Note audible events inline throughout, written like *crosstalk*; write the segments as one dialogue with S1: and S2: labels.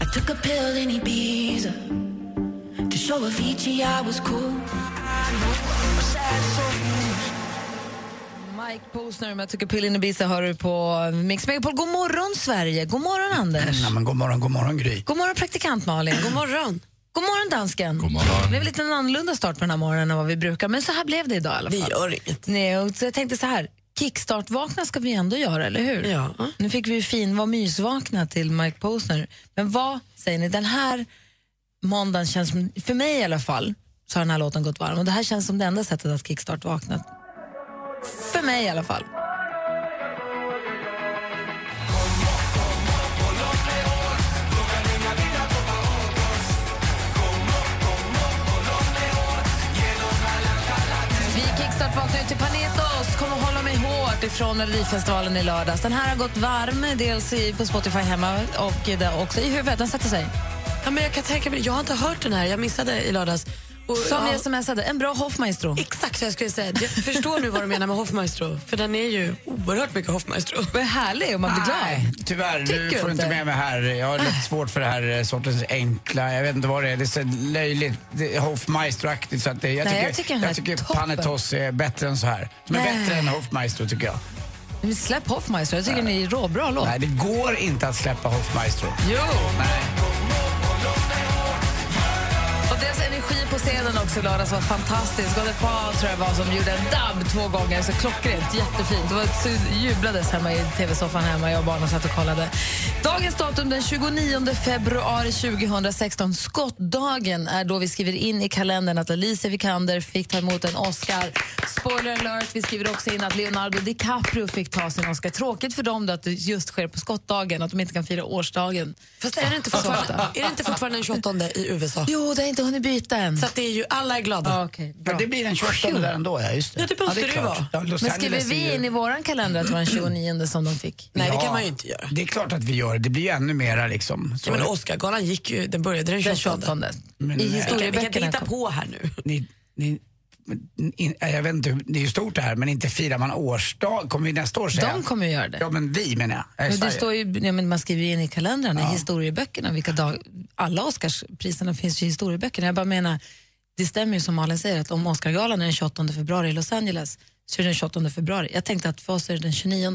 S1: I took a pill in Ibiza to show Avicii I was cool.
S2: Mike Posner med Tycker Pillen i Bisa hör du på Mix Megapol. God morgon Sverige, god morgon Anders.
S3: Ja, men god morgon, god morgon Gry.
S2: God morgon praktikant Malin. God morgon. God morgon dansken. God morgon. Det blev lite en annorlunda start på den här morgonen än vad vi brukar, men så här blev det idag i alla fall. Vi gör inget. Nej, och så jag tänkte så här, kickstart-vakna ska vi ändå göra, eller hur? Ja. Nu fick vi ju fin var mysvakna till Mike Posner. Men vad säger ni, den här måndagen känns, som- för mig i alla fall, så har den här låten gått varm och det här känns som det enda sättet att kickstart-vakna. För mig i alla fall. Vi kickstart-vaknar ut till Panetos, Kom och hålla mig hårt ifrån Melodifestivalen i lördags. Den här har gått varm, dels i, på Spotify hemma och där också i huvudet. Den sätter sig.
S4: Ja, men jag kan tänka mig, jag har inte hört den här, jag missade i lördags. Och,
S2: Som
S4: ja,
S2: jag smsade, en bra Hoffmaestro.
S4: Exakt vad jag skulle säga. Jag förstår nu vad du menar med Hoffmaestro, för den är ju oerhört mycket Hoffmaestro.
S2: Vad härlig och man blir glad.
S3: Tyvärr,
S2: Tycker
S3: du får
S2: du
S3: inte
S2: inte?
S3: med mig här. Jag har lite svårt för det här eh, sortens enkla, jag vet inte vad det är, det är så löjligt, det är Hofmeisteraktigt. Så att det, jag,
S2: Nej,
S3: tycker,
S2: jag tycker den här är toppen.
S3: Panetos är bättre än så här. De är
S2: Nej.
S3: bättre än Hofmeister tycker jag.
S2: Men Släpp Hoffmaestro, jag tycker ni är råbra låt.
S3: Nej, det går inte att släppa Hofmeister.
S2: Jo! Och deras energi på scenen också i lördags var fantastisk. Golden Paul tror jag det var som gjorde en dubb två gånger. Så klockrent, jättefint. Det var, så jublades hemma i tv-soffan hemma. Jag och barnen satt och kollade. Dagens datum den 29 februari 2016. Skottdagen är då vi skriver in i kalendern att Alicia Vikander fick ta emot en Oscar. Spoiler alert, vi skriver också in att Leonardo DiCaprio fick ta sin Oscar. Tråkigt för dem då att det just sker på skottdagen, att de inte kan fira årsdagen.
S4: Fast är det inte fortfarande, är det inte fortfarande den 28 i USA?
S2: Jo, det har inte hunnit byta än.
S4: Så att det är ju, alla är glada.
S2: Ja, okej, bra.
S3: Men det blir den 28 där ändå, ja just det.
S4: Ja, det måste
S3: är
S4: det ju
S3: klart.
S4: vara.
S3: Ja, Los
S2: Men skriver
S3: Angeles är
S2: vi
S3: ju-
S2: in i våran kalender att det var den 29 som de fick?
S4: Nej, det
S3: Ja,
S4: kan man ju inte göra.
S3: Det är klart att vi gör, det blir ju ännu mera liksom. Så
S4: Ja, men
S3: det-
S4: Oscargalan gick ju, den började den
S2: Den
S4: 28.
S2: 28.
S3: Men
S2: I
S3: nej.
S4: Vi kan, vi kan inte
S2: historieböckerna.
S4: hitta
S2: kom-
S4: på här nu.
S3: ni, ni, men in, nej, jag vet inte, hur- det är ju stort det här, men inte firar man årsdag, kommer vi nästa år säga?
S2: De kommer ju göra det.
S3: Ja, men vi menar jag. jag. är
S2: Men det
S3: Sverige.
S2: står ju, ja, men man skriver ju in i kalendern, i historieböckerna, vilka dag, alla Oscarspriserna finns ju i historieböckerna. Jag bara menar, det stämmer ju som Malin säger att om Oscargalan är den 28 februari i Los Angeles så är det den 28 februari. Jag tänkte att för oss är det den 29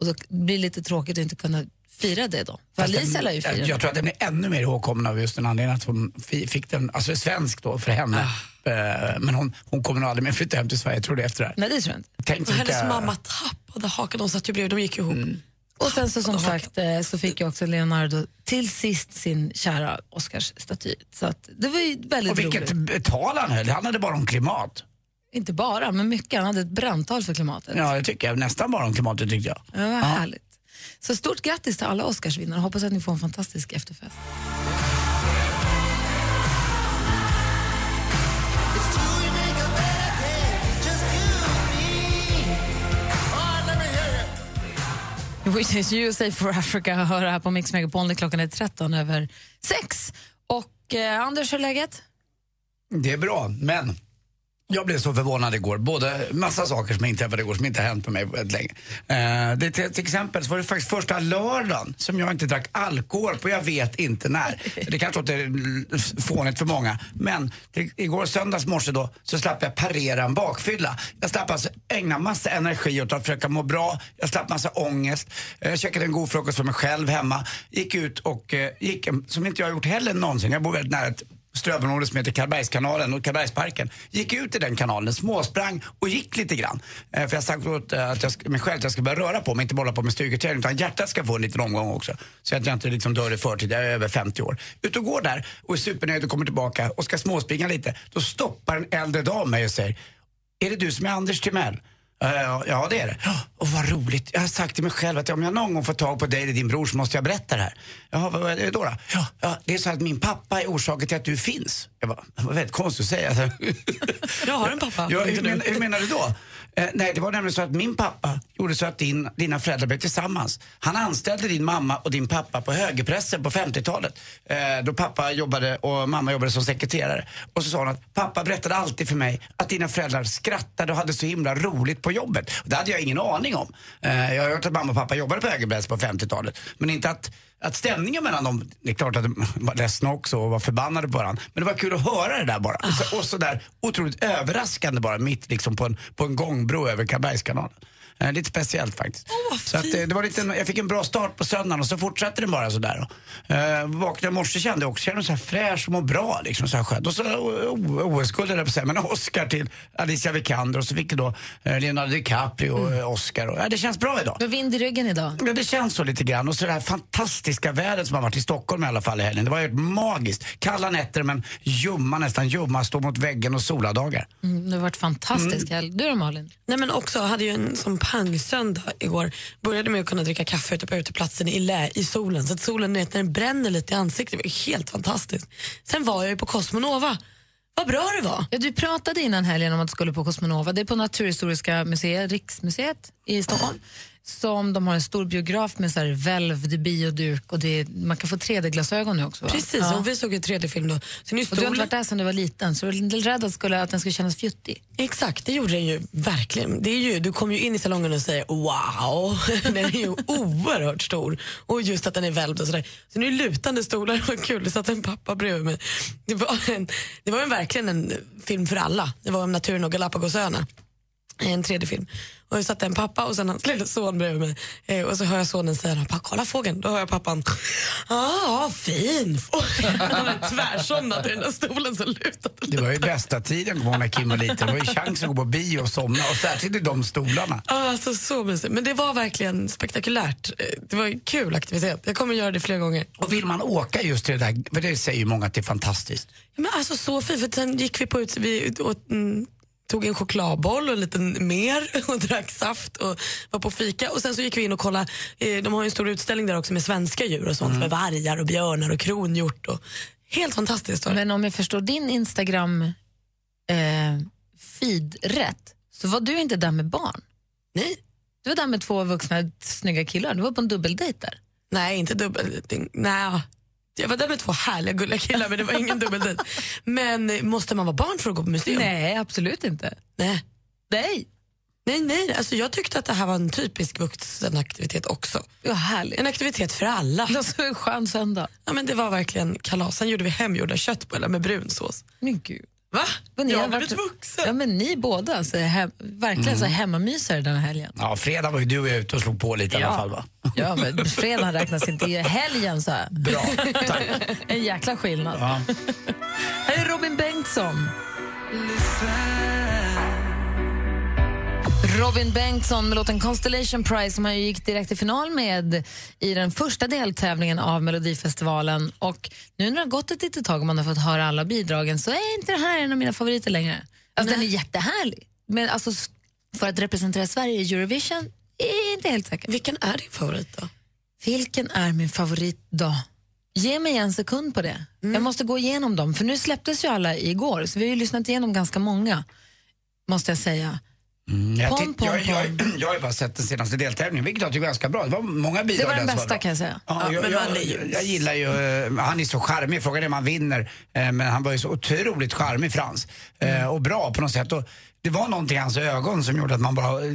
S2: och då blir det lite tråkigt att inte kunna fira det då. För
S3: Fast
S2: Alicia lär ju
S3: jag,
S2: fira.
S3: jag tror att den blir ännu mer ihågkommen av just den anledningen att hon fi- fick den, alltså svensk då för henne. Eh, Men hon, hon kommer nog aldrig mer flytta hem till Sverige, tror du efter det här.
S2: Ah. Nej, det tror jag inte.
S3: Tänk
S4: Och hennes
S3: vilka-
S4: mamma tappade hakan, de satt ju bredvid, de gick ihop.
S2: Och sen så som sagt eh, så fick ju också Leonardo till sist sin kära Oscarsstaty. Så att det var ju väldigt
S3: Och vilket
S2: roligt.
S3: tal han höll, han handlade bara om klimat.
S2: Inte bara, men mycket. Han hade ett brandtal för klimatet.
S3: Ja, det tycker jag. Nästan bara om klimatet tyckte jag.
S2: Det var härligt. Så stort grattis till alla Oscarsvinnare. Hoppas att ni får en fantastisk efterfest. Which is USA for Africa hör här på Mix Megapol när klockan är 13 över 6. Och eh, Anders, hur är läget?
S3: Det är bra, men jag blev så förvånad igår. Både massa saker som inträffade igår som inte har hänt på mig på väldigt länge. Eh, det, till, till exempel så var det faktiskt första lördagen som jag inte drack alkohol på jag vet inte när. Det kanske låter l- fånigt för många. Men till, igår söndags morse då så slapp jag parera en bakfylla. Jag slapp alltså ägna massa energi åt att försöka må bra. Jag slapp massa ångest. Eh, Jag käkade en god frukost för mig själv hemma. Gick ut och eh, gick, en- som inte jag har gjort heller någonsin. Jag bor väldigt nära ett strövområde som heter Karlbergskanalen och Karlbergsparken. Gick ut i den kanalen, småsprang och gick lite grann. Eh, för jag sa åt eh, att jag, sk- mig själv att jag ska börja röra på mig, inte bara hålla på med styrketräning utan hjärtat ska få en liten omgång också. Så att jag inte liksom dör i förtid, jag är över 50 år. Ut och går där och är supernöjd och kommer tillbaka och ska småspringa lite. Då stoppar en äldre dam mig och säger, är det du som är Anders Timell? Ja, Eh, ja, det är det. Ja, Och vad roligt. Jag har sagt till mig själv att om jag någon gång får tag på dig eller din bror så måste jag berätta det här. Jaha, vad är det då? då? Ja, ja, det är så att min pappa är orsaken till att du finns. Jag bara, det var väldigt konstigt
S4: *laughs*
S3: att säga.
S4: Jag har en pappa.
S3: Ja,
S4: Inte
S3: hur,
S4: du.
S3: men, hur menar du då? Eh, nej, det var nämligen så att min pappa gjorde så att din, dina föräldrar blev tillsammans. Han anställde din mamma och din pappa på högerpressen på 50-talet. Eh, då pappa jobbade och mamma jobbade som sekreterare. Och så sa hon att pappa berättade alltid för mig att dina föräldrar skrattade och hade så himla roligt på jobbet. Och det hade jag ingen aning om. Eh, jag har hört att mamma och pappa jobbade på högerpressen på 50-talet. Men inte att att stämningen mellan dem, det är klart att de var ledsna också och var förbannade på varandra. Men det var kul att höra det där bara. Och så, och så där otroligt överraskande bara mitt liksom på en, på en gångbro över Karlbergskanalen. Eh, lite speciellt faktiskt. så att, eh, det var lite, en- jag fick en bra start på söndagen och så fortsatte den bara sådär. då. Eh, vaknade i morse kände jag också, kände mig så här fräsch och mår bra liksom. Så här skönt. Och så o- OS-guld höll jag på att säga, men *laughs* Oscar till Alicia Vikander och så fick jag då eh, Leonardo DiCaprio eh, Oscar. Och, ja, det känns bra idag.
S2: Du har vind i ryggen idag.
S3: Ja, det känns så lite grann. Och så det här fantastiska vädret som har varit i Stockholm i alla fall i helgen. Det var ju helt magiskt. Kalla nätter men ljumma, nästan ljumma, stå mot väggen och soladagar.
S2: Mm, det har varit fantastisk helg. Du då Malin?
S4: Nej men också, jag hade ju en sån pangsöndag igår. Började med att kunna dricka kaffe ute på uteplatsen i lä i solen. Så att solen, ni vet, när den bränner lite i ansiktet, det var helt fantastiskt. Sen var jag ju på Cosmonova. Vad bra det var.
S2: Ja, du pratade innan helgen om att du skulle på Cosmonova. Det är på Naturhistoriska museet, Riksmuseet i Stockholm. Som de har en stor biograf med så här välvd bioduk och det är, man kan få 3D-glasögon nu också. va?
S4: Precis,
S2: Ja.
S4: och vi såg ju 3D-film då. Så nu
S2: Och du har inte
S4: stolen,
S2: varit där sedan du var liten så du är rädd att, skulle, att den skulle kännas fjuttig.
S4: Exakt, det gjorde den ju verkligen. Det är ju, du kom ju in i salongen och säger wow, *laughs* den är ju oerhört stor. Och just att den är välvd och sådär. Så nu är lutande stolar, det var kul, det satt en pappa bredvid mig. Det var, en, det var en, verkligen en film för alla. Det var om naturen och Galapagosöarna. En 3D-film. Och jag satt en pappa och sen hans lilla son bredvid mig. Eh, och så hör jag sonen säga, pappa kolla fågeln. Då hör jag pappan, ah fin fågel. *laughs* Han hade tvärsomnat i den där stolen så lutade
S3: Det var ju bästa tiden, kommer jag ihåg, när Kim var liten. Det var ju chans att gå på bio och somna. Och särskilt i de stolarna.
S4: Ja, Alltså, så mysigt. Men det var verkligen spektakulärt. Eh, Det var en kul aktivitet. Jag kommer göra det fler gånger.
S3: Och vill man åka just till det där, för det säger ju många att det är fantastiskt.
S4: Ja, Men alltså så fint, för sen gick vi på ut, vi åt, mm, tog en chokladboll och en liten mer *laughs* och drack saft och var på fika. Och sen så gick vi in och kollade, eh, de har ju en stor utställning där också med svenska djur och sånt,
S2: Mm.
S4: med vargar och björnar och kronhjort. Och, helt fantastiskt. var det.
S2: Men om jag förstår din Instagram eh, feed rätt så var du inte där med barn.
S4: Nej.
S2: Du var där med två vuxna snygga killar. Du var på en dubbeldejt där.
S4: Nej, inte dubbeldejting. Nej. Jag var där med två härliga gulliga killar men det var ingen
S2: *laughs*
S4: dubbeldejt. Men eh, måste man vara barn för att gå på museum?
S2: Nej, absolut inte.
S4: Nej.
S2: Nej.
S4: Nej, nej. Alltså, jag tyckte att det här var en typisk vuxenaktivitet också.
S2: Ja, härligt.
S4: En aktivitet för alla.
S2: Det var så en skön söndag.
S4: Ja, men det var verkligen kalas. Sen gjorde vi hemgjorda köttbullar med brunsås.
S2: Men gud.
S4: Va?
S2: Men
S4: jag
S2: har
S4: har blivit
S2: varit-
S4: vuxen.
S2: Ja, men ni båda, alltså, he- verkligen så hemmamysare den här helgen.
S3: Ja, fredag var ju du och jag ute och slog på lite i alla fall va?
S2: Ja, men fredagen räknas inte, i helgen så. här.
S3: Bra, tack.
S2: *laughs* En jäkla skillnad.
S3: Ja.
S2: Här är Robin Bengtsson. Robin Bengtsson med låten Constellation Prize som han ju gick direkt i final med i den första deltävlingen av Melodifestivalen. Och nu när det har gått ett litet tag och man har fått höra alla bidragen så är inte det här en av mina favoriter längre. Alltså, den är jättehärlig, men alltså, s- för att representera Sverige i Eurovision är inte helt säker.
S4: Vilken är din favorit då?
S2: Vilken är min favorit då? Ge mig en sekund på det. Jag måste gå igenom dem, för nu släpptes ju alla igår, så vi har ju lyssnat igenom ganska många, måste jag säga.
S3: Mm, Jag,
S2: Pom,
S3: titt-
S2: pom,
S3: jag, jag,
S2: pom.
S3: *clears throat* jag har ju bara sett den senaste deltävlingen, vilket jag tycker är ganska bra. Det var många bidrag
S2: Det var den
S3: där som
S2: bästa
S3: bra.
S2: kan jag säga.
S3: Ja,
S4: Ja,
S3: jag,
S4: men
S3: jag,
S4: han är ju-
S3: jag gillar ju, eh, han är så charmig, frågan är om han vinner. eh, Men han var ju så otroligt charmig Frans. eh, Och bra på något sätt. Och det var någonting i hans ögon som gjorde att man bara eh,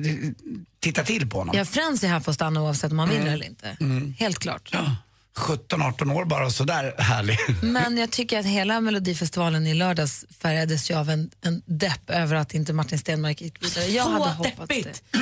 S3: tittade till på honom.
S2: Ja, Frans är här för att stanna oavsett om han vinner eller inte. Helt klart.
S3: Ja, 17-18 år bara och sådär härlig.
S2: Men jag tycker att hela Melodifestivalen i lördags färgades ju av en, en depp över att inte Martin Stenmark gick vidare. Eh, Jag
S4: Så
S2: hade hoppats det.
S4: deppigt. *clears throat*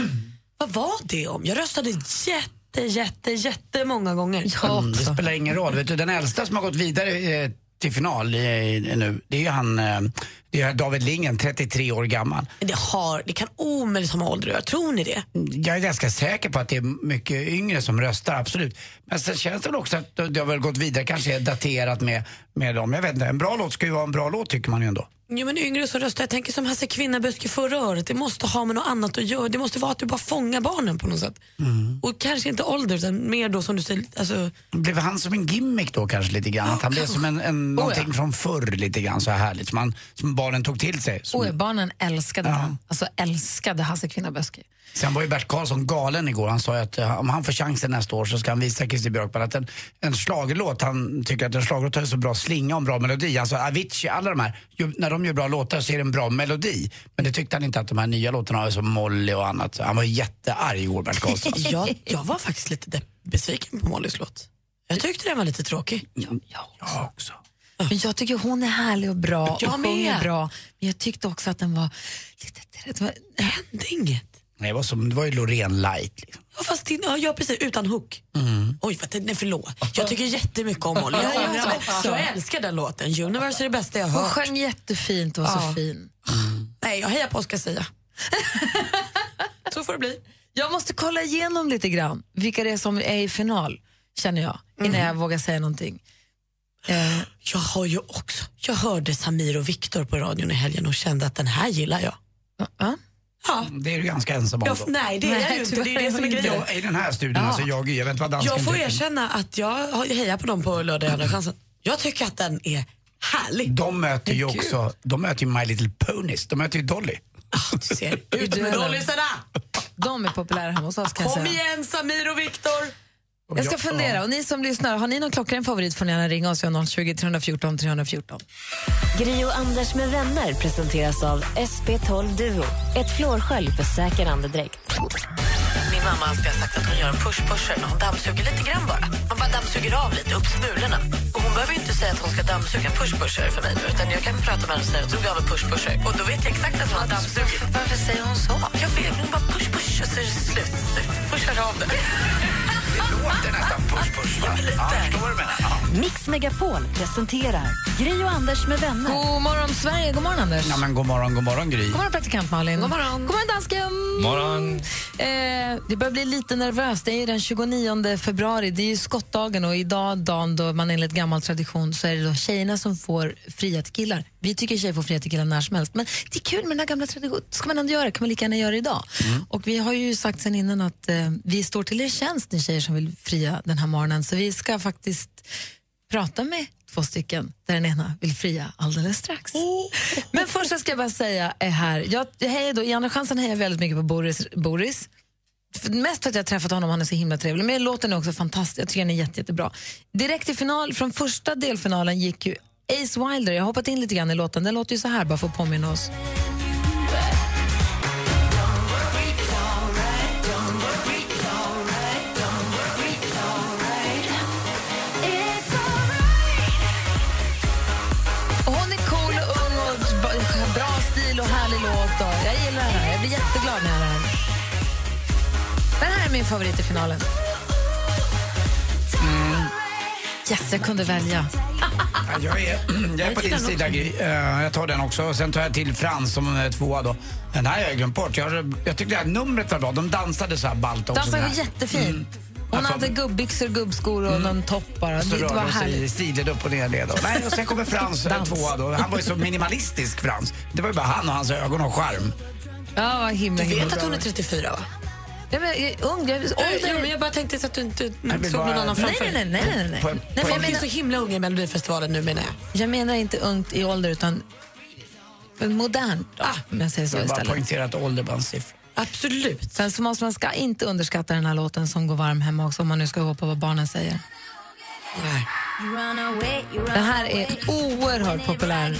S4: Vad var det om? Jag röstade jätte, jätte, jätte många gånger. Mm.
S2: Ja,
S3: Det
S2: också.
S3: spelar ingen roll. Vet du, den äldsta som har gått vidare eh, till final eh, nu, det är ju han eh, det är David Lingen, 33 år gammal.
S4: Men Det, har, det kan omöjligt ha med ålder att göra. Tror ni det?
S3: Jag är ganska säker på att det är mycket yngre som röstar, absolut. Men sen känns det väl också att det har väl gått vidare, kanske är daterat med, med dem. Jag vet inte, en bra låt ska ju vara en bra låt tycker man ju ändå.
S4: Jo, men yngre som röstar. Jag tänker som Hasse Kvinnaböske förra året. Det måste ha med något annat att göra. Det måste vara att du bara fångar barnen på något sätt.
S2: Mm.
S4: Och kanske inte ålder, utan mer då som du säger, alltså,
S3: Blev han som en gimmick då kanske lite grann? att han blev som en, en, någonting från förr lite grann så här härligt som, han, som barnen tog till sig. Som,
S2: Oj, barnen älskade han. Alltså älskade Hasse Kvinnaböske.
S3: Sen var ju Bert Karlsson galen igår. Han sa ju att eh, om han får chansen nästa år så ska han visa Christer Björkman att en, en slagelåt, han tycker att en slagelåt har en så bra slinga och en bra melodi. Alltså Avicii, alla de här, ju, när de gör bra låtar så är det en bra melodi. Men det tyckte han inte att de här nya låtarna har, som Molly och annat. Så Han var jättearg igår, Bert
S4: *laughs*
S3: Karlsson.
S4: jag, jag var faktiskt lite depp- besviken på Mollys låt. Jag tyckte den var lite tråkig.
S3: Ja, också.
S2: Men jag tycker hon är härlig och bra och
S4: Jag
S2: sjunger
S4: med.
S2: bra. Men jag tyckte också att den var lite... Det var,
S4: Det hände inget.
S3: Nej, det, var som, det var ju Loreen light. Liksom.
S4: Ja, fast det, ja, ja, precis, utan hook.
S2: Mm.
S4: Oj, vad, nej, förlåt. Jag tycker jättemycket om Molly. Jag,
S2: jag
S4: ångrar mig.
S2: också.
S4: jag älskar den låten. Universe är det bästa jag
S2: hon
S4: hört.
S2: sjöng jättefint och var så
S4: Ja.
S2: fin.
S4: Nej, jag hejar på Oscar
S2: *laughs*
S4: Sia. Så får det bli.
S2: Jag måste kolla igenom lite grann vilka det är som är i final, känner jag, innan
S4: Mm.
S2: jag vågar säga någonting. Eh,
S4: Jag har ju också, jag hörde Samir och Viktor på radion i helgen och kände att den här gillar jag.
S2: ja.
S4: Ja,
S3: Det är du ganska ensam om.
S4: jag
S3: då.
S4: nej det är jag
S2: Nej,
S4: ju inte, det är
S2: tyvärr
S4: det som är
S2: inte.
S4: grejen.
S3: Ja, I den här studien, alltså jag, jag vet inte vad dansken
S4: Jag får
S3: tycker.
S4: erkänna att jag har- jag hejar på dem på lördag i Andra chansen. Jag tycker att den är härlig.
S3: De möter ju också, de möter ju My Little Ponies, de möter ju Dolly.
S4: Ah, du ser, *laughs* ut med
S2: duellen.
S4: dålisarna!
S2: de är populära hemma hos oss kan jag
S4: Kom
S2: säga.
S4: igen Samir och Viktor!
S2: Jag ska fundera. Och ni som lyssnar, har ni någon klockren favorit får ni gärna ringa oss. Vi har 020 314 314.
S5: Gri och Anders med vänner presenteras av SP12 Duo. Ett flårskölj för säker andedräkt.
S4: Min mamma har alltid sagt att hon gör en push-pusher när hon dammsuger lite grann bara. Man bara dammsuger av lite, upp smulorna. Och hon behöver ju inte säga att hon ska dammsuga push-pusher för mig nu, utan jag kan prata med henne och säga att jag drog av en push-pusher. Och då vet jag exakt att hon har dammsugit. Varför säger hon så? Jag vet, hon bara push-push och så är det slut. Pushar av det.
S3: Det låter nästan push push va? Ja, jag förstår vad du menar. Ja.
S5: Mix Megapol presenterar Gri och Anders med vänner.
S2: God morgon Sverige, god morgon Anders.
S3: men god morgon, god morgon Gry.
S2: God morgon praktikant Malin. God morgon, god morgon dansken.
S6: Morgon.
S2: Eh, det börjar bli lite nervöst. Det är ju den 29 februari, det är ju skottdagen och idag dagen då man enligt gammal tradition så är det då tjejerna som får fria till killar. Vi tycker tjejer får fria till killar när som helst men det är kul med den här gamla traditionen. Ska man ändå göra kan man lika gärna göra det idag. Och vi har ju sagt sen innan att eh, vi står till er tjänst ni tjejer som vill fria den här morgonen så vi ska faktiskt prata med två stycken där den ena vill fria alldeles strax. Men först så ska jag bara säga är här, jag hejar då, i Andra chansen hejar jag väldigt mycket på Boris. Boris. För- Mest för att jag har träffat honom, han är så himla trevlig. Men låten är också fantastisk, jag tycker den är jätte, jättebra. Direkt i final, från första delfinalen gick ju Ace Wilder, jag har hoppat in lite grann i låten, den låter ju så här bara för att påminna oss. Och hon är cool och ung och b- bra stil och härlig låt. Och jag gillar den här. Jag blir jätteglad när jag hör den. Den här är min favorit i finalen. Mm. Yes, jag kunde välja.
S3: Ja, Jag är, *clears throat* jag är på din sida Gry. Eh, Jag tar den också. Sen tar jag till Frans som är tvåa då. Den här har jag glömt bort. Jag, jag tyckte det här numret var bra. De dansade så här ballt också.
S2: Dansade
S3: den
S2: var
S3: här.
S2: jättefin.
S4: Mm.
S2: Hon
S3: Alltså-
S2: hade gubbyxor, gubbskor och någon topp bara.
S3: Så
S2: Det
S3: rörde
S2: var
S3: de sig i
S2: härligt.
S3: sidled upp och ner. Led. och- Nej, och sen kommer Frans eh,
S2: Dans.
S3: tvåa då. Han var ju så minimalistisk Frans. Det var ju bara han och hans ögon och charm.
S2: Ja, vad himla,
S4: Du
S2: himla
S4: vet
S2: bra.
S4: att hon är 34 va?
S2: Ja, men, jag är ung. Jag,
S4: Oj,
S2: ålder,
S4: nej, men jag bara tänkte så att du inte såg
S3: vill bara-
S4: någon annan
S2: nej,
S4: framför
S2: nej, nej. nej, nej, nej.
S3: På-
S2: nej
S3: på-
S2: men jag,
S4: De är
S2: menar,
S4: så himla unga i Melodifestivalen nu menar jag.
S2: jag menar inte ungt i ålder utan modernt. Ah, om jag säger så
S3: Bara
S2: istället.
S3: poängterat ålder bara en siffra.
S4: Absolut.
S2: Sen så måste man ska inte underskatta den här låten som går varm hemma också om man nu ska gå på vad barnen säger. Den här är oerhört populär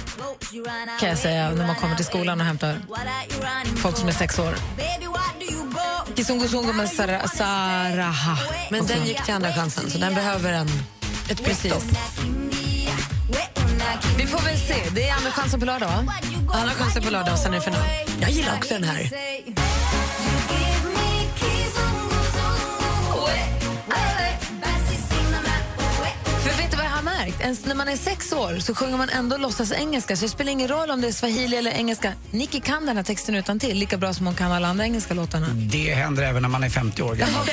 S2: kan jag säga när man kommer till skolan och hämtar folk som är sex år. Kizunguzungu med Sara- Saraha.
S4: Men
S2: också.
S4: den gick till andra chansen så den behöver en, ett
S2: Precis.
S4: precis.
S2: Vi får väl se. Det är andra chansen på lördag, va?
S4: Andra chansen på lördag och sen är det final. Jag gillar också den här.
S2: För vet du vad jag har märkt? Ens när man är sex år så sjunger man ändå låtsas engelska så det spelar ingen roll om det är swahili eller engelska. Nicky kan den här texten utan till lika bra som hon kan alla andra engelska låtarna.
S3: Det händer även när man är 50 år gammal.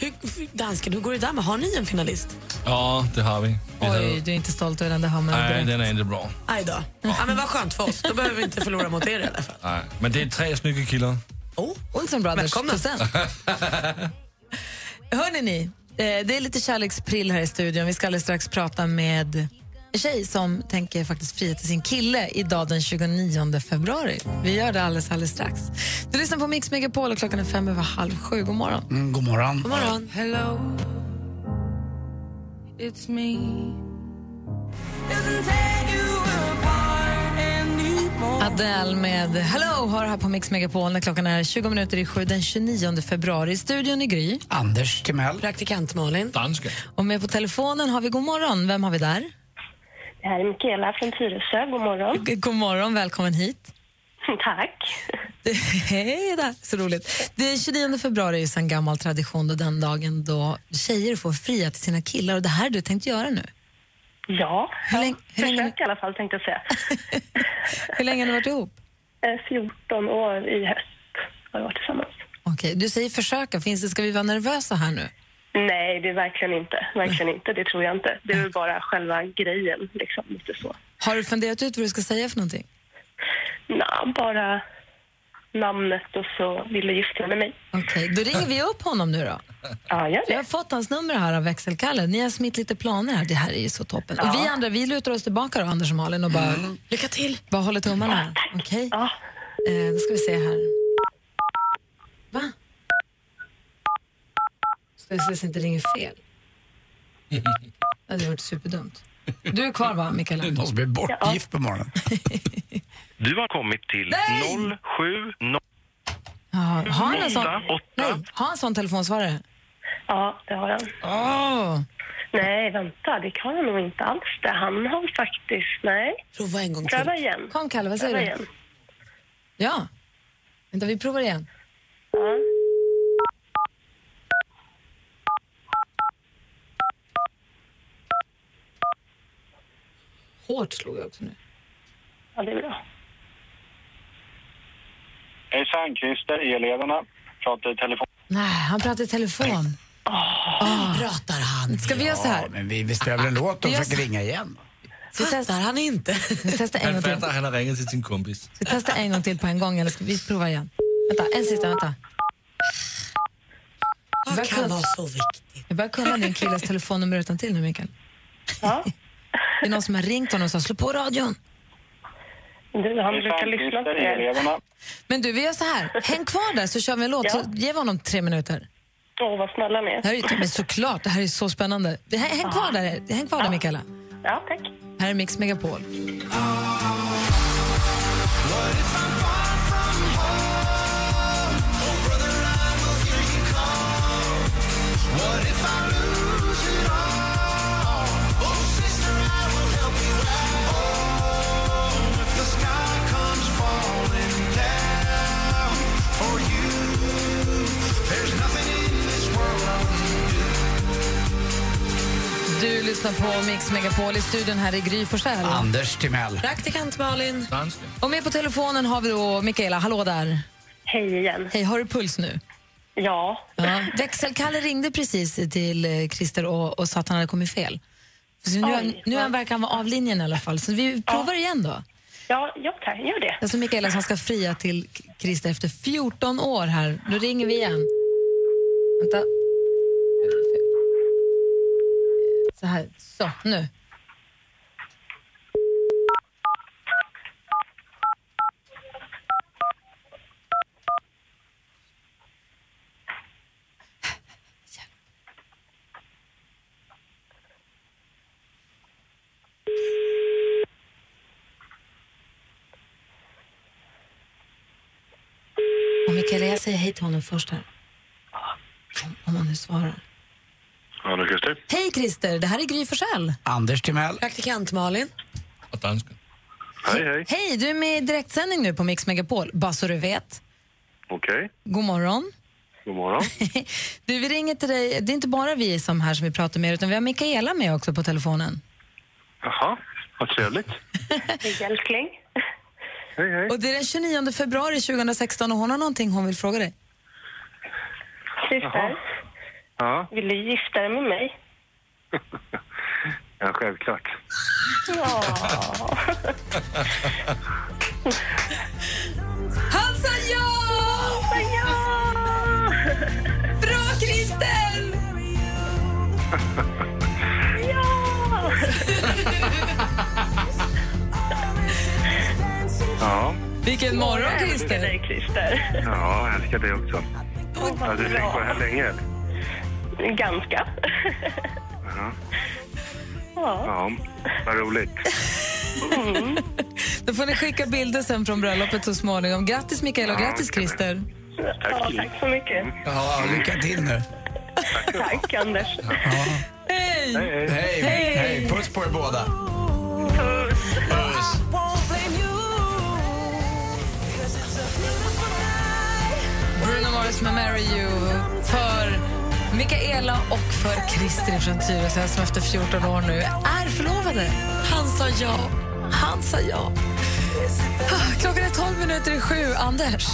S4: Hur, dansken, hur går det där med? Har ni en finalist?
S6: Ja, det har vi. vi
S2: Oj, du är inte stolt över den där hamnen.
S6: nej, den är inte bra.
S4: Aj då. Ja, men vad skönt för oss. Då behöver vi inte förlora mot er i alla fall.
S6: Nej. Men det är tre snygga killar.
S4: Oh.
S2: Olsen Brothers.
S4: Välkomna.
S2: *laughs* Present. Hörni ni, eh, det är lite kärleksprill här i studion. Vi ska alldeles strax prata med en tjej som tänker faktiskt fria till sin kille idag den 29 februari. Vi gör det alldeles, alldeles strax. Du lyssnar på Mix Megapol och klockan är fem över halv sju. God morgon.
S3: Mm, god morgon.
S4: God morgon.
S2: Hello. Adele med Hello har här på Mix Megapol när klockan är 20 minuter i sju den 29 februari. I studion i Gry.
S3: Anders Timell.
S4: Praktikant Malin.
S6: Danska.
S2: Och med på telefonen har vi god morgon. Vem har vi där?
S7: Det här är Mikaela från Tyresö. God morgon.
S2: G- God morgon, välkommen hit.
S7: *laughs*
S2: *laughs*
S7: Tack.
S2: Hej där, så roligt. Den 29 februari är ju sedan gammal tradition då den dagen då tjejer får fria till sina killar och det här har du tänkt göra nu. *laughs*
S7: Ja,
S2: Hur länge- hur länge-
S7: försök i alla fall tänkte jag *laughs* säga.
S2: Hur länge har ni varit ihop?
S7: Eh, 14 år i höst har vi varit tillsammans.
S2: Okej, du säger försöka, finns det, ska vi vara nervösa här nu?
S7: Nej, det är verkligen inte. Verkligen inte. Det tror jag inte. Det är väl bara själva grejen, liksom. Lite så.
S2: Har du funderat ut vad du ska säga för någonting?
S7: Nå, bara namnet och så ville gifta mig med mig.
S2: Okej, då ringer vi upp honom nu då.
S7: Ja, gör
S2: Jag har
S7: det.
S2: fått hans nummer här av växelkalle. Ni har smitt lite planer här. Det här är ju så toppen. Och vi andra, vi lutar oss tillbaka då, Anders och Malin, och bara,
S4: Lycka till.
S2: bara håller tummarna. Okej?
S7: Ja.
S2: Eh, då ska vi se här. Va? Ska jag se så det inte ringer fel? Ja, Det hade varit superdumt. Du är kvar va, Mikaela?
S3: Någon som blir bortgift på morgonen.
S8: Du har kommit till 07...
S2: Ja, har han en sån?
S8: Åtta, åtta.
S2: Nej, har han en sån telefonsvarare?
S7: ja, det har jag.
S3: Ah.
S2: Åh!
S7: Nej, vänta. Det kan jag nog inte alls. Det. Han har faktiskt... Nej.
S4: Prova en gång till.
S7: Pröva igen.
S2: Kom Kalle, vad
S7: Pröva
S2: säger du?
S7: igen.
S2: Ja. Vänta, vi provar igen.
S7: Ja.
S2: Hårt slog jag också nu.
S7: ja, det är bra.
S8: Hejsan, Christer, eleverna. Pratar i telefon.
S2: Nej, han pratar i telefon.
S4: Pratar han?
S2: Ska vi göra så
S3: Ja,
S2: här?
S3: men vi, vi spelar väl en låt och
S2: Vi gör
S3: försöker
S2: så-
S3: ringa igen.
S2: Vi testar,
S4: Pratar han inte?
S2: vi testar en
S6: Han
S2: gång till.
S6: fattar att han har ringt till sin kompis.
S2: Ska vi testa en gång till på en gång eller ska vi prova igen? Vänta, en sista, vänta.
S4: Vad kan vara så viktigt?
S2: Jag börjar kunna din killes telefonnummer utan till nu, Mikael.
S7: Ja.
S2: Det är någon som har ringt honom och sa slå på radion.
S7: Du, han brukar
S8: Hejsan,
S7: lyssna på
S8: Christer,
S7: er.
S8: eleverna.
S2: Men du, vi gör så här. Häng kvar där så kör vi en låt.
S7: Ja.
S2: Så ger vi honom tre minuter.
S7: Åh, vad snälla ni är.
S2: Det här är, ju- men såklart, det här är så spännande. Det här- Häng kvar där, häng kvar där Mikaela.
S7: Ja, tack.
S2: Här är Mix Megapol. Du lyssnar på Mix Megapol i studion här i Gry Forssell.
S3: Anders Timell.
S4: Praktikant Malin.
S6: Danska.
S2: Och med på telefonen har vi då Mikaela. Hallå där.
S7: Hej igen.
S2: Hej, har du puls nu?
S7: Ja,
S2: Ja. Växelkalle ringde precis till eh, Christer och, och sa att han hade kommit fel. Så nu
S7: Oj,
S2: nu
S7: vad-
S2: han verkar han vara av linjen i alla fall, så vi provar igen då.
S7: ja, ja tack. Gör det.
S2: Alltså Mikaela som ska fria till K- Christer efter 14 år här. Då ringer vi igen. Vänta. Så här, så, nu. Och Mikaela, jag säger hej till honom först här. Om, om han nu svarar.
S8: Hallå, Christer.
S2: Hej Christer, det här är Gry Forssell.
S3: Anders Timell.
S4: Praktikant Malin.
S6: Och danska.
S8: Hej, hej.
S2: Hej, du är med i direktsändning nu på Mix Megapol, bara så du vet.
S8: Okej,
S2: God morgon.
S8: god morgon.
S2: *laughs* Du, vi ringer till dig. Det är inte bara vi som här som vi pratar med, utan vi har Mikaela med också på telefonen.
S8: Jaha, vad trevligt.
S7: Hej, älskling.
S8: Hej, hej.
S2: Och det är den 29 februari 2016 och hon har någonting hon vill fråga dig.
S7: Christer,
S8: Ja,
S7: Vill du gifta dig med mig?
S8: ja självklart.
S7: Ja.
S2: Han sa ja! Bra, Christer!
S7: ja!
S8: Ja,
S2: Vilken morgon,
S7: Jag älskar
S2: Christer!
S7: dig, Christer.
S8: ja jag älskar dig också.
S7: Åh,
S8: Har
S7: vad
S8: du tänkt på det här
S7: bra.
S8: länge?
S7: Ganska.
S8: Ja,
S7: Ja.
S8: ja vad roligt.
S2: Då får ni skicka bilder sen från bröllopet så småningom. Grattis, Mikael, och
S8: Ja,
S2: grattis,
S8: ska vi.
S2: Christer.
S7: ja, tack så mycket.
S3: Ja, lycka till nu.
S7: Tack, Anders.
S2: Hej!
S8: Hej,
S3: Hej,
S2: Hej.
S3: hej. Puss på er båda.
S7: Puss.
S3: Puss.
S2: Bruno Mars med Marry You för Mikaela och för Christer från Tyresö som efter 14 år nu är förlovade. Han sa ja, han sa ja. Ah, Klockan är 12 minuter i sju. Anders,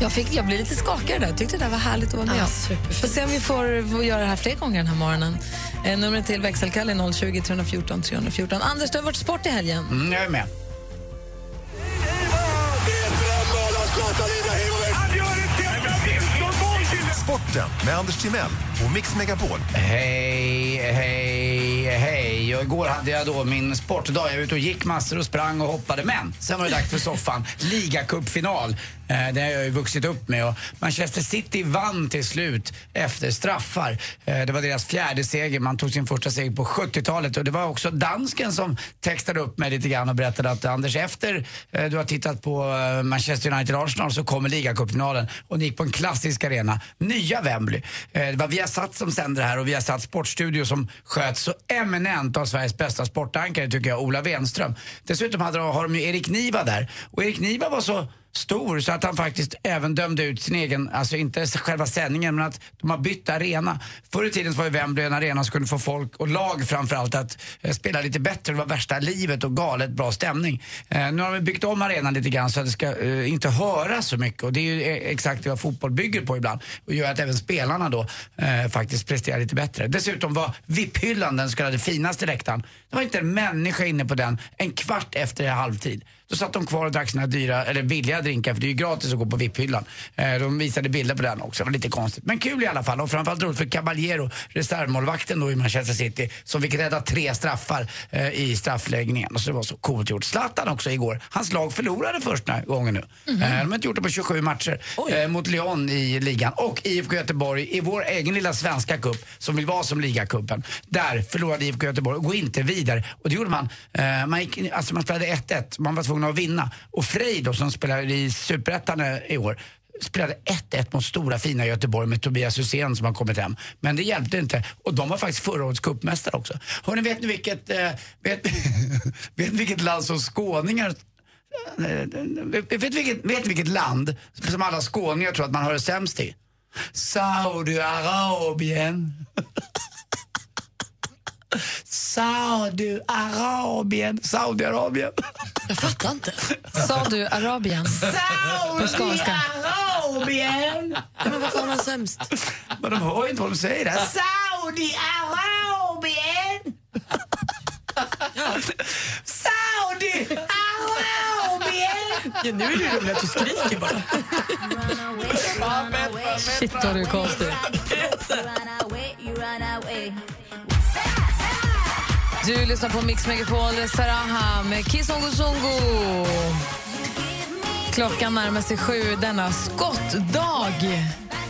S2: jag, fick, jag blev lite skakig där. Jag tyckte det där var härligt att vara med
S4: Ja,
S2: om.
S4: superfint.
S2: Får se om vi får, får göra det här fler gånger den här morgonen. Eh, numret till växelkalle är 020 314 314. Anders, det har varit sport i helgen.
S3: Mm, jag är med.
S9: Sporten med Anders Timell och Mix Megapol.
S3: Hej, hej, hej. Och igår hade jag då min sportdag. Jag var ute och gick massor och sprang och hoppade. Men sen var det dags för soffan. Ligacupfinal. Eh, det har jag ju vuxit upp med. Och Manchester City vann till slut efter straffar. Eh, det var deras fjärde seger. Man tog sin första seger på 70-talet. Och det var också dansken som textade upp mig lite grann och berättade att Anders, efter eh, du har tittat på eh, Manchester United-Arsenal så kommer ligacupfinalen. Och ni gick på en klassisk arena. Nya Wembley. Eh, Det var Viasat som sände det här och Viasat Sportstudio som sköts så eminent av Sveriges bästa sportankare tycker jag, Ola Wenström. Dessutom hade, de- har de ju Erik Niva där. Och Erik Niva var så stor så att han faktiskt även dömde ut sin egen, alltså inte själva sändningen men att de har bytt arena. Förr i tiden så var ju Wembley en arena som kunde få folk och lag framförallt att eh, spela lite bättre. Det var värsta livet och galet bra stämning. Eh, nu har de byggt om arenan lite grann så att det ska eh, inte höra så mycket och det är ju eh, exakt vad fotboll bygger på ibland och gör att även spelarna då eh, faktiskt presterar lite bättre. Dessutom var VIP-hyllan den så kallade finaste läktaren. Det var inte en människa inne på den en kvart efter halvtid. Då satt de kvar och drack sina dyra, eller billiga drinkar, för det är ju gratis att gå på VIP-hyllan. Eh, de visade bilder på den också, det var lite konstigt. Men kul i alla fall och framförallt roligt för Caballero, reservmålvakten då i Manchester City, som fick rädda tre straffar eh, i straffläggningen. Och så det var så coolt gjort. Zlatan också igår, hans lag förlorade första gången nu. Eh, de har inte gjort det på 27 matcher eh, mot Lyon i ligan. Och IFK Göteborg i vår egen lilla svenska cup, som vill vara som ligacupen. Där förlorade IFK Göteborg och går inte vidare. Och det gjorde man. Eh, man, gick, alltså man spelade 1-1, man var tvungen att vinna. Och Frej då, som spelar i Superettan eh, i år, spelade 1-1 mot stora fina Göteborg med Tobias Hysén som har kommit hem. Men det hjälpte inte. Och de var faktiskt förra årets cupmästare också. Hörrni, vet ni vilket, eh, vet, *laughs* vet ni vilket land som skåningar eh, Vet vet vilket, vet vilket land som alla skåningar tror att man hör sämst i? Saudiarabien. Saudiarabien. Saudiarabien.
S4: Jag fattar inte.
S2: Sa du Arabien? På skånska.
S3: Saudiarabien.
S4: Ja, men varför har man sämst?
S3: Men de hör ju inte vad de säger där. Saudiarabien. Saudiarabien.
S4: Ja, nu är det roligt att du skriker bara.
S2: Shit, vad du är konstig. Du lyssnar på Mix Megapol, det är Saraha med Kizungu Zungu. Klockan närmar sig sju denna skottdag.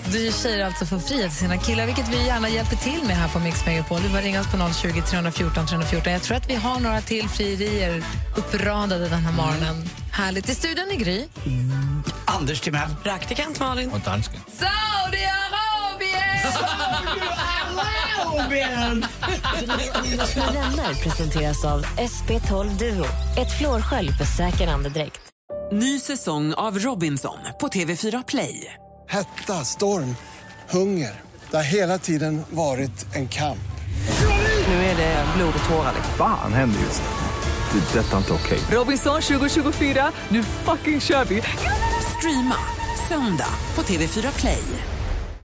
S2: Du är tjejer alltså får frihet till sina killar, vilket vi gärna hjälper till med här på Mix Megapol. Du bara ringa oss på 020 314 314. Jag tror att vi har några till frierier uppradade den här
S4: Mm.
S2: morgonen. Härligt. I studion i Gry.
S3: Anders Timell.
S4: Praktikant Malin.
S6: Och dansken.
S2: Saudiarabien!
S5: Anders med vänner presenteras av SP12 Duo. Ett flårskölj för säker andedräkt.
S10: Ny säsong av Robinson på TV4 Play.
S11: Hetta, storm, hunger. Det har hela tiden varit en kamp.
S10: Nu är det blod och tårar.
S12: Fan händer just nu. Det. är Detta är inte okej.
S10: Robinson 2024, nu fucking kör vi! Streama söndag på TV4 Play.